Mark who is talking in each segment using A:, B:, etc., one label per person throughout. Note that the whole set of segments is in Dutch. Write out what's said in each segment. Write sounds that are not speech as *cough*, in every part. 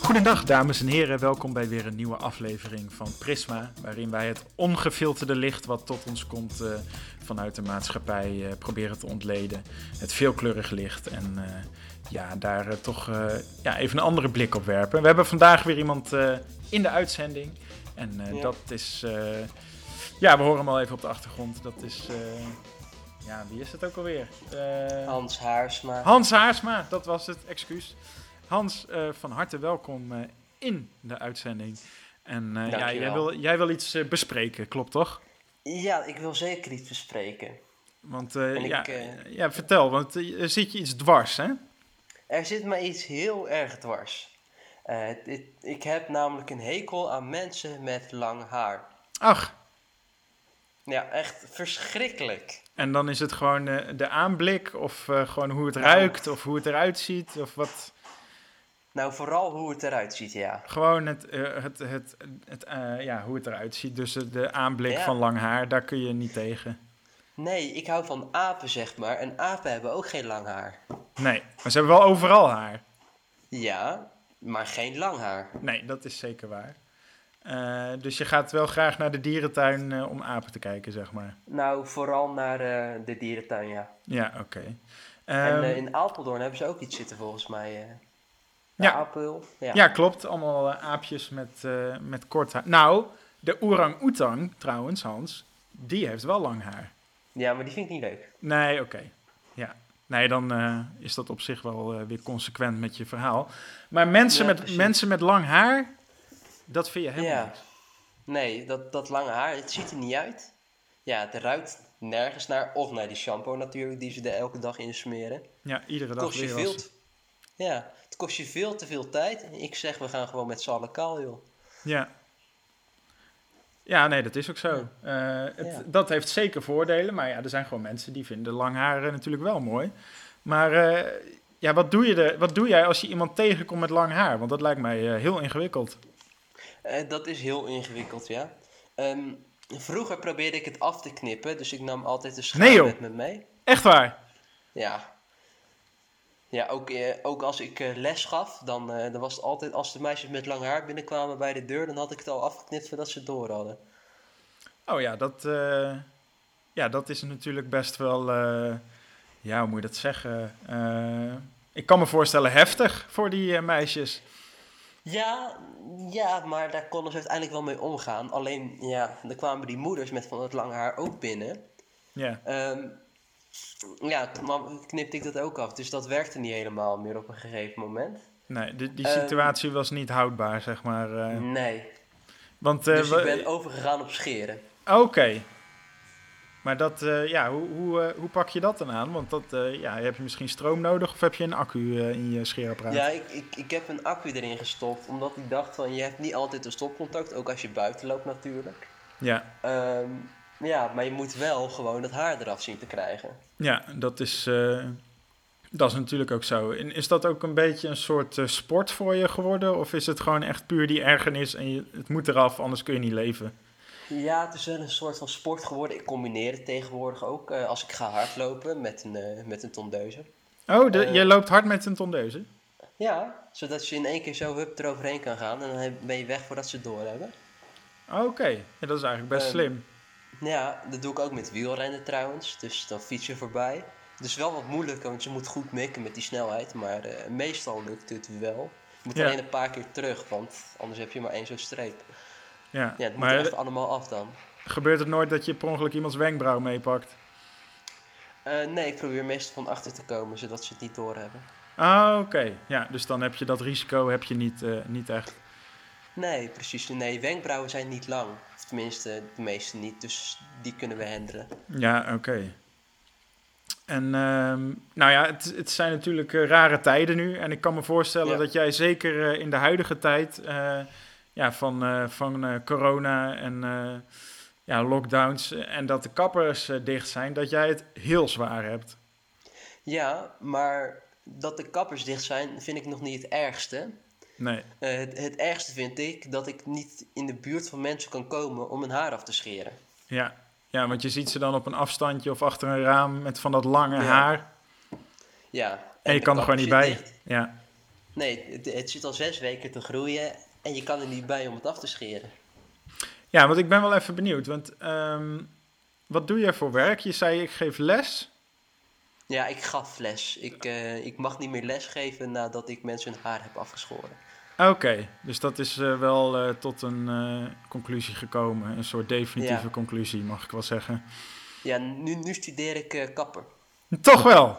A: Goedendag dames en heren, welkom bij weer een nieuwe aflevering van Prisma, waarin wij het ongefilterde licht wat tot ons komt eh, vanuit de maatschappij eh, proberen te ontleden. Het veelkleurig licht en eh, ja, daar eh, toch eh, ja, even een andere blik op werpen. We hebben vandaag weer iemand eh, in de uitzending en eh,
B: Ja.
A: dat is, eh, ja we horen hem al even op de achtergrond, dat is, eh, ja wie is het ook alweer? Eh,
B: Hans Haarsma.
A: Hans Haarsma, dat was het, excuus. Hans, eh, van harte welkom eh, in de uitzending. En eh, ja,
B: Dankjewel.
A: jij, wil, jij wil iets eh, bespreken, klopt toch?
B: Ja, ik wil zeker iets bespreken.
A: Want eh,
B: En ik,
A: ja,
B: eh,
A: ja, vertel, want eh, er zit je iets dwars, hè?
B: Er zit mij iets heel erg dwars. Eh, dit- ik heb namelijk een hekel aan mensen met lang haar.
A: Ach,
B: Ja, echt verschrikkelijk.
A: en dan is het gewoon eh, de aanblik of eh, gewoon hoe het
B: Nou.
A: ruikt of hoe het eruit ziet of wat.
B: Nou, vooral hoe het eruit ziet, ja.
A: Gewoon het, eh, het, het, het, eh, ja, hoe het eruit ziet. Dus eh, de aanblik
B: Ja.
A: van lang haar, daar kun je niet tegen.
B: Nee, ik hou van apen, zeg maar. En apen hebben ook geen lang haar.
A: Nee, maar ze hebben wel overal haar.
B: Ja, maar geen lang haar.
A: Nee, dat is zeker waar. Eh, dus je gaat wel graag naar de dierentuin eh, om apen te kijken, zeg maar.
B: Nou, vooral naar eh, de dierentuin, ja.
A: Ja, oké.
B: en
A: Ehm,
B: eh, in Apeldoorn hebben ze ook iets zitten, volgens mij. eh
A: Ja.
B: Apel. Ja.
A: ja, klopt. Allemaal eh, aapjes met, eh, met kort haar. Nou, de orang-oetang, trouwens, Hans, die heeft wel lang haar.
B: ja, maar die vind ik niet leuk.
A: Nee, oké. Ja. Nee, dan eh, is dat op zich wel eh, weer consequent met je verhaal. Maar mensen,
B: Ja,
A: met,
B: precies.
A: mensen met lang haar, dat vind je helemaal
B: Ja.
A: niks.
B: Nee, dat, dat lange haar, het ziet er niet uit. Ja, het ruikt nergens naar. Of naar die shampoo natuurlijk, die ze er elke dag in smeren.
A: Ja, iedere
B: Het
A: dag
B: kost je
A: weer
B: veel,
A: als-
B: te- ja, het kost je veel te veel tijd. Ik zeg, we gaan gewoon met z'n allen kaal, joh.
A: Ja. Ja, nee, dat is ook zo. Eh, het,
B: Ja.
A: Dat heeft zeker voordelen, maar ja, er zijn gewoon mensen die vinden lang haar eh, natuurlijk wel mooi. Maar eh, ja, wat doe, je er, wat doe jij als je iemand tegenkomt met lang haar? Want dat lijkt mij eh, heel ingewikkeld.
B: Eh, dat is heel ingewikkeld, ja. Ehm, vroeger probeerde ik het af te knippen, dus ik nam altijd een schaar
A: Nee, joh.
B: met me mee.
A: Echt waar?
B: Ja. Ja, ook, eh, ook als ik eh, les gaf, dan, eh, dan was het altijd als de meisjes met lang haar binnenkwamen bij de deur, dan had ik het al afgeknipt voordat ze het door hadden.
A: Oh ja, dat, eh, ja, dat is natuurlijk best wel, eh, ja, hoe moet je dat zeggen? Eh, ik kan me voorstellen, heftig voor die eh, meisjes.
B: Ja, ja, maar daar konden ze uiteindelijk wel mee omgaan. Alleen, ja, dan kwamen die moeders met van het lange haar ook binnen.
A: Ja,
B: Ehm, ja, toen nam- knipte ik dat ook af. Dus dat werkte niet helemaal meer op een gegeven moment.
A: nee, die, die
B: Ehm.
A: situatie was niet houdbaar, zeg maar. eh.
B: Nee.
A: want, eh,
B: mm. Dus ik
A: we-
B: ben overgegaan op scheren.
A: Oké. Maar dat, eh, ja, hoe, hoe, eh, hoe pak je dat dan aan? Want dat, eh, ja, heb je misschien stroom nodig of heb je een accu eh, in je scheerapparaat?
B: Ja, ik, ik, ik heb een accu erin gestopt. Omdat ik dacht van, je hebt niet altijd een stopcontact. Ook als je buiten loopt natuurlijk.
A: ja.
B: Ehm, ja, maar je moet wel gewoon dat haar eraf zien te krijgen.
A: Ja, dat is, eh, dat is natuurlijk ook zo. En is dat ook een beetje een soort eh, sport voor je geworden? Of is het gewoon echt puur die ergernis en je, het moet eraf, anders kun je niet leven?
B: Ja, het is wel een soort van sport geworden. Ik combineer het tegenwoordig ook eh, als ik ga hardlopen met een, eh, met een tondeuze.
A: Oh, de,
B: Eh.
A: je loopt hard met een tondeuze?
B: Ja, zodat je in één keer zo hup eroverheen kan gaan en dan heb- ben je weg voordat ze het doorhebben.
A: Oké, ja, dat is eigenlijk best
B: Ehm.
A: slim.
B: Ja, dat doe ik ook met wielrennen trouwens, dus dan fiets je voorbij. Het is wel wat moeilijker, want je moet goed mikken met die snelheid, maar eh, meestal lukt het wel. Je moet
A: Ja.
B: alleen een paar keer terug, want anders heb je maar één zo'n streep.
A: Ja,
B: Ja, het moet
A: maar
B: echt allemaal af dan.
A: gebeurt het nooit dat je per ongeluk iemands wenkbrauw meepakt?
B: Eh, nee, ik probeer meestal van achter te komen, zodat ze het niet doorhebben.
A: Ah, oké. Ja, dus dan heb je dat risico heb je niet, eh, niet echt.
B: Nee, precies. Nee, wenkbrauwen zijn niet lang. Of tenminste, de meeste niet. Dus die kunnen we handelen.
A: Ja, oké. En ehm, nou ja, het, het zijn natuurlijk eh, rare tijden nu. En ik kan me voorstellen
B: Ja.
A: dat jij zeker eh, in de huidige tijd eh, ja, van, eh, van eh, corona en eh, ja, lockdowns eh, en dat de kappers eh, dicht zijn, dat jij het heel zwaar hebt.
B: Ja, maar dat de kappers dicht zijn, vind ik nog niet het ergste.
A: Nee.
B: Eh, het, het ergste vind ik dat ik niet in de buurt van mensen kan komen om mijn haar af te scheren.
A: Ja. ja, want je ziet ze dan op een afstandje of achter een raam met van dat lange
B: Ja.
A: haar.
B: Ja.
A: En je
B: de
A: kan er gewoon niet
B: kapper
A: bij.
B: zit dicht.
A: Ja.
B: Nee, het, het zit al zes weken te groeien en je kan er niet bij om het af te scheren.
A: Ja, want ik ben wel even benieuwd. Want ehm, wat doe jij voor werk? Je zei ik geef les.
B: Ja, ik gaf les. Ik, eh, ik mag niet meer lesgeven nadat ik mensen hun haar heb afgeschoren.
A: Oké, dus dat is eh, wel eh, tot een eh, conclusie gekomen. Een soort definitieve
B: Ja.
A: conclusie, mag ik wel zeggen.
B: Ja, nu, nu studeer ik eh, kapper.
A: Toch wel!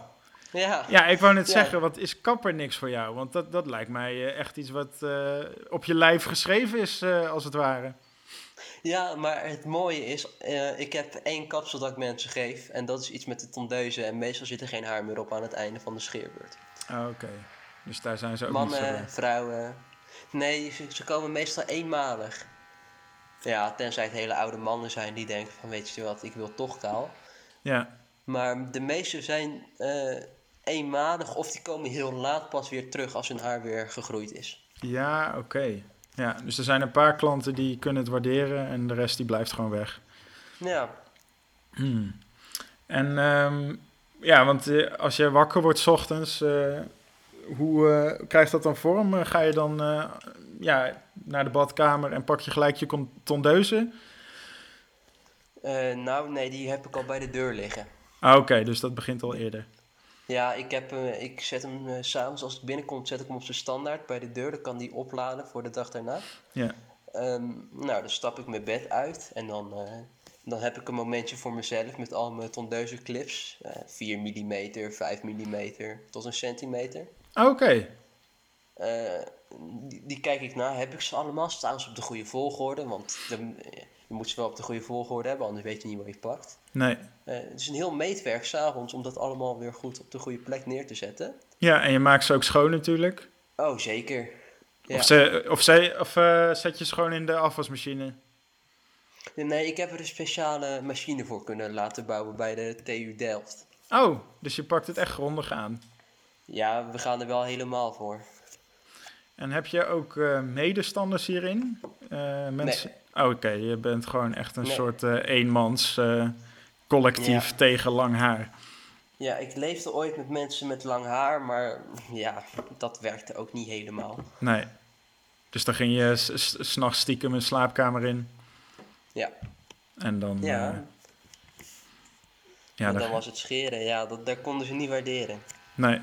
B: Ja.
A: Ja, ik wou net
B: Ja.
A: zeggen, wat is kapper niks voor jou? Want dat, dat lijkt mij eh, echt iets wat eh, op je lijf geschreven is, eh, als het ware.
B: ja, maar het mooie is, eh, ik heb één kapsel dat ik mensen geef. En dat is iets met de tondeuze. En meestal zit er geen haar meer op aan het einde van de scheerbeurt.
A: Ah, Oké, dus daar zijn ze ook niet zo bij.
B: Mannen, vrouwen. Nee, ze, ze komen meestal eenmalig. Ja, tenzij het hele oude mannen zijn die denken van weet je wat, ik wil toch kaal.
A: Ja,
B: Maar de meeste zijn eh, eenmalig of die komen heel laat pas weer terug als hun haar weer gegroeid is.
A: ja oké. Ja, dus er zijn een paar klanten die kunnen het waarderen en de rest die blijft gewoon weg.
B: Ja,
A: Hmm. En ehm, ja, want eh, als je wakker wordt 's ochtends, eh, hoe eh, krijgt dat dan vorm? Eh, Ga je dan eh, ja, naar de badkamer en pak je gelijk je con- tondeuze?
B: Eh, nou nee, die heb ik al bij de deur liggen.
A: Ah, oké, dus dat begint al eerder.
B: Ja, ik, heb, eh, ik zet hem eh, s s'avonds als het binnenkomt, zet ik hem op zijn standaard bij de deur. Dan kan die opladen voor de dag daarna.
A: Ja.
B: Ehm, nou, dan stap ik mijn bed uit en dan, eh, dan heb ik een momentje voor mezelf met al mijn tondeuze clips. Eh 4 mm, 5 mm tot een centimeter.
A: Ah, Oké,
B: Eh, die, die kijk ik na, heb ik ze allemaal? Staan ze op de goede volgorde? Want de- eh, je moet ze wel op de goede volgorde hebben, anders weet je niet waar je pakt.
A: nee.
B: Eh, het is een heel meetwerk s'avonds om dat allemaal weer goed op de goede plek neer te zetten.
A: Ja, en je maakt ze ook schoon natuurlijk.
B: Oh, zeker. Ja.
A: Of, ze, of, ze, of eh, zet je ze gewoon in de afwasmachine.
B: Nee, ik heb er een speciale machine voor kunnen laten bouwen bij de TU Delft.
A: Oh, dus je pakt het echt grondig aan.
B: Ja, we gaan er wel helemaal voor.
A: En heb je ook eh, medestanders hierin? Eh, mensen... Oh, Oké, je bent gewoon echt een
B: Nee.
A: soort eh, eenmans eh, collectief tegen lang haar.
B: Ja, ik leefde ooit met mensen met lang haar, maar ja, dat werkte ook niet helemaal.
A: Nee. Dus dan ging je s- s- s'nachts stiekem een slaapkamer in.
B: Ja.
A: En dan...
B: Ja,
A: eh, ja,
B: want
A: dan-
B: dan was het scheren. Ja, dat, daar konden ze niet waarderen.
A: Nee.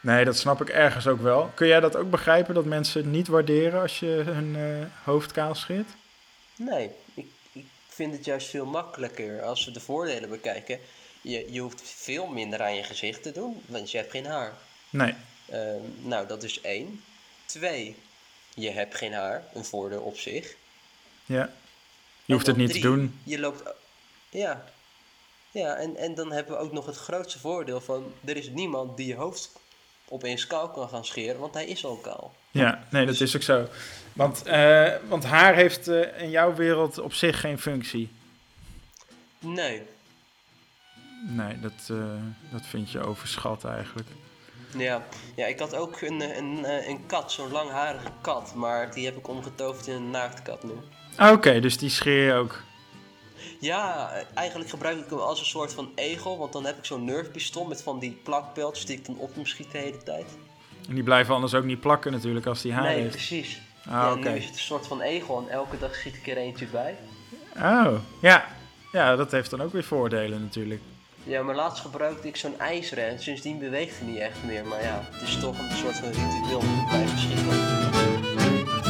A: Nee, dat snap ik ergens ook wel. Kun jij dat ook begrijpen, dat mensen het niet waarderen als je hun eh hoofd kaal scheert?
B: Nee, ik, ik vind het juist veel makkelijker als we de voordelen bekijken. Je, je hoeft veel minder aan je gezicht te doen, want je hebt geen haar.
A: Nee.
B: Ehm, nou, dat is één. Twee, je hebt geen haar, een voordeel op zich.
A: Ja. Je hoeft het
B: dan
A: niet te
B: drie,
A: doen.
B: Je loopt. Ja. Ja, en, en dan hebben we ook nog het grootste voordeel van: er is niemand die je hoofd opeens kaal kan gaan scheren, want hij is al kaal.
A: Ja, nee, dat is ook zo. Want, eh, want haar heeft eh, in jouw wereld op zich geen functie.
B: Nee.
A: Nee, dat, eh, dat vind je overschat eigenlijk.
B: Ja, ja ik had ook een, eh, een, eh, een kat, zo'n langharige kat, maar die heb ik omgetoverd in een naaktkat nu.
A: Ah, Oké, dus die scheer je ook.
B: Ja, eh, eigenlijk gebruik ik hem als een soort van egel, want dan heb ik zo'n nerfpistool met van die plakpeltjes die ik dan op hem schiet de hele tijd.
A: En die blijven anders ook niet plakken natuurlijk als die haar
B: nee,
A: heeft.
B: precies.
A: Ah,
B: ja,
A: oké.
B: nu is het een soort van egel en elke dag schiet ik er eentje bij.
A: Oh, ja. Ja, dat heeft dan ook weer voordelen natuurlijk.
B: Ja, maar laatst gebruikte ik zo'n ijsren. Sindsdien beweegt hij niet echt meer. Maar ja, het is toch een soort van ritueel dat blijft beschikken.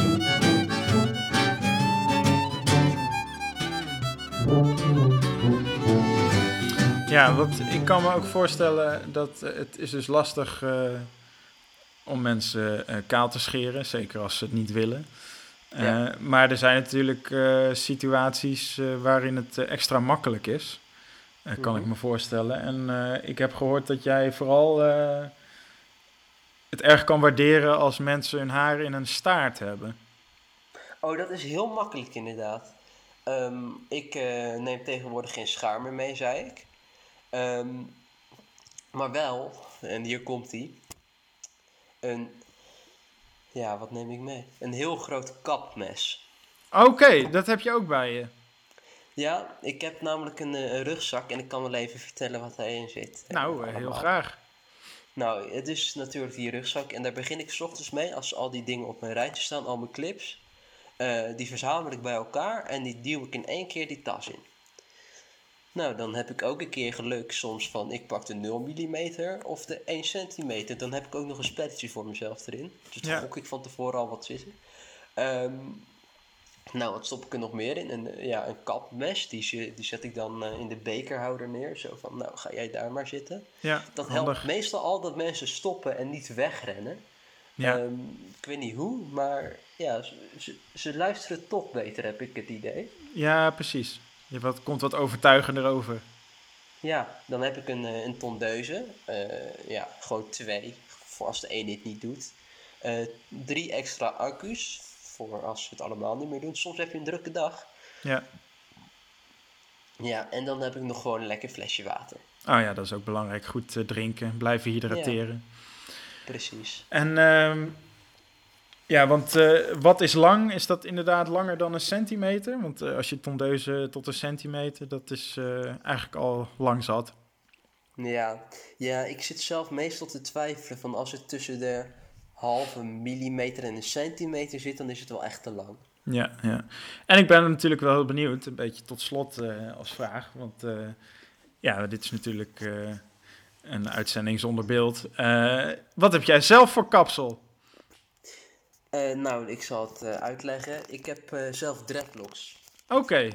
A: Ja, want ik kan me ook voorstellen dat eh, het is dus lastig eh om mensen eh, kaal te scheren, zeker als ze het niet willen. Eh,
B: Ja.
A: Maar er zijn natuurlijk eh, situaties eh, waarin het eh, extra makkelijk is, Eh, kan
B: Mhm.
A: ik me voorstellen. En eh, ik heb gehoord dat jij vooral eh, het erg kan waarderen als mensen hun haar in een staart hebben.
B: Oh, dat is heel makkelijk inderdaad. Ehm, ik eh, neem tegenwoordig geen schaar meer mee, zei ik. Ehm, maar wel, en hier komt ie. Een, ja, wat neem ik mee? Een heel groot kapmes.
A: Oké, dat heb je ook bij je.
B: Ja, ik heb namelijk een, eh, een rugzak en ik kan wel even vertellen wat daarin zit.
A: Nou, eh, heel
B: Allemaal.
A: graag.
B: Nou, het is natuurlijk die rugzak. En daar begin ik 's ochtends mee als al die dingen op mijn rijtje staan, al mijn clips. Eh, die verzamel ik bij elkaar en die duw ik in één keer die tas in. Nou, dan heb ik ook een keer geluk soms van ik pak de 0 mm of de 1 centimeter. Dan heb ik ook nog een spelletje voor mezelf erin. Dus dan
A: Ja.
B: hok ik van tevoren al wat zitten. Ehm, nou, wat stop ik er nog meer in? Een, eh, ja, een kapmes, die, ze- die zet ik dan eh, in de bekerhouder neer. Zo van, nou ga jij daar maar zitten.
A: Ja,
B: Dat helpt
A: handig.
B: meestal al dat mensen stoppen en niet wegrennen.
A: Ja.
B: Ehm, ik weet niet hoe, maar ja, ze, ze, ze luisteren toch beter, heb ik het idee.
A: ja, precies. Je wat, komt wat overtuigender over.
B: Ja, dan heb ik een, eh, een tondeuze. Eh, ja, gewoon twee, voor als de één dit niet doet. Eh, drie extra accu's, voor als ze het allemaal niet meer doen. Soms heb je een drukke dag.
A: Ja.
B: Ja, en dan heb ik nog gewoon een lekker flesje water.
A: Oh ja, dat is ook belangrijk. Goed eh, drinken, blijven hydrateren.
B: Precies.
A: En ehm, ja, want eh, wat is lang? Is dat inderdaad langer dan een centimeter? Want eh, als je tondeuze tot een centimeter, dat is eh, eigenlijk al lang zat.
B: Ja. ja, ik zit zelf meestal te twijfelen van als het tussen de halve millimeter en een centimeter zit, dan is het wel echt te lang.
A: Ja, ja. En ik ben natuurlijk wel heel benieuwd, een beetje tot slot eh, als vraag. Want eh, ja, dit is natuurlijk eh, een uitzending zonder beeld. Eh, wat heb jij zelf voor kapsel?
B: Eh, nou, ik zal het eh, uitleggen. Ik heb eh, zelf dreadlocks.
A: Oké,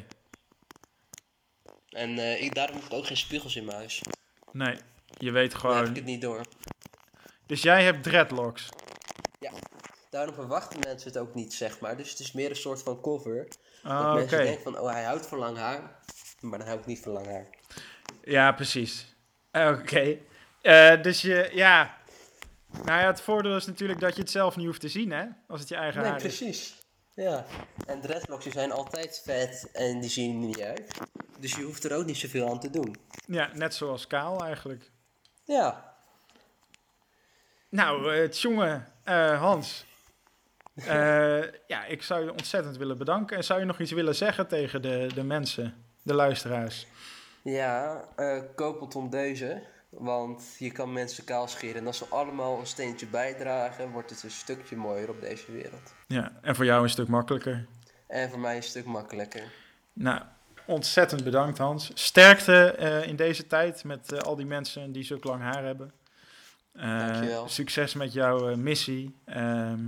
B: En eh, ik, daarom heb ik ook geen spiegels in mijn huis.
A: nee, je weet
B: Dan heb ik
A: gewoon.
B: het niet door.
A: Dus jij hebt dreadlocks.
B: Daarom verwachten mensen het ook niet, zeg maar. Dus het is meer een soort van cover. Dat
A: Ah, Oké,
B: mensen denken van, oh, hij houdt van lang haar. Maar dan hou ik niet van lang haar.
A: ja, precies. Ah, Oké, Eh, dus je, ja. Nou ja, het voordeel is natuurlijk dat je het zelf niet hoeft te zien, hè? Als het je eigen
B: Nee,
A: haar is.
B: precies. Ja. En dreadlocks die zijn altijd vet en die zien er niet uit. Dus je hoeft er ook niet zoveel aan te doen.
A: Ja, net zoals kaal eigenlijk.
B: Ja.
A: Nou, eh jongen, eh,
B: *laughs*
A: Hans. Eh, ja, ik zou je ontzettend willen bedanken. En zou je nog iets willen zeggen tegen de, de mensen, de luisteraars?
B: Ja, eh koop een tondeuze. Want je kan mensen kaal scheren. En als ze allemaal een steentje bijdragen, wordt het een stukje mooier op deze wereld.
A: Ja, en voor jou een stuk makkelijker.
B: En voor mij een stuk makkelijker.
A: Nou, ontzettend bedankt, Hans. Sterkte eh, in deze tijd met eh, al die mensen die zulk lang haar hebben. Eh,
B: Dankjewel.
A: Succes met jouw eh, missie. Ehm,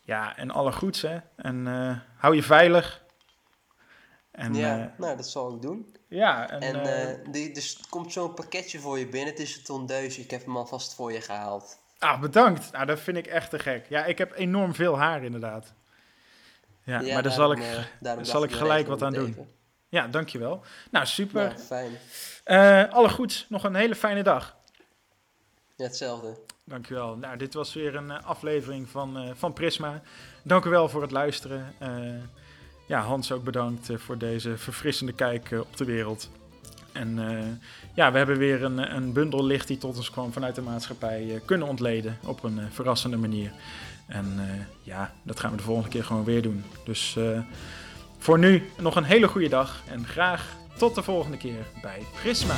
A: ja, en alle goeds, hè. En eh, hou je veilig. En,
B: ja,
A: eh,
B: nou dat zal ik doen.
A: ja, en,
B: En
A: eh,
B: eh, die, dus er komt zo'n pakketje voor je binnen. Het is een tondeuze. Ik heb hem alvast voor je gehaald.
A: Ah, bedankt. Nou, dat vind ik echt te gek. Ja, ik heb enorm veel haar inderdaad. Ja, maar daar zal ik...
B: daarom, eh, daarom dacht
A: zal ik
B: er
A: gelijk
B: even
A: wat aan
B: om te
A: doen.
B: even.
A: Ja, dankjewel. Nou, super.
B: Nou, fijn.
A: Eh, alle goeds. Nog een hele fijne dag.
B: Ja, hetzelfde.
A: Dankjewel. Nou, dit was weer een eh, aflevering van, eh, van Prisma. Dank u wel voor het luisteren. Eh, ja, Hans ook bedankt eh, voor deze verfrissende kijk eh, op de wereld. En eh, ja, we hebben weer een, een bundel licht die tot ons kwam vanuit de maatschappij eh, kunnen ontleden op een eh, verrassende manier. En eh, ja, dat gaan we de volgende keer gewoon weer doen. Dus eh, voor nu nog een hele goede dag en graag tot de volgende keer bij Prisma.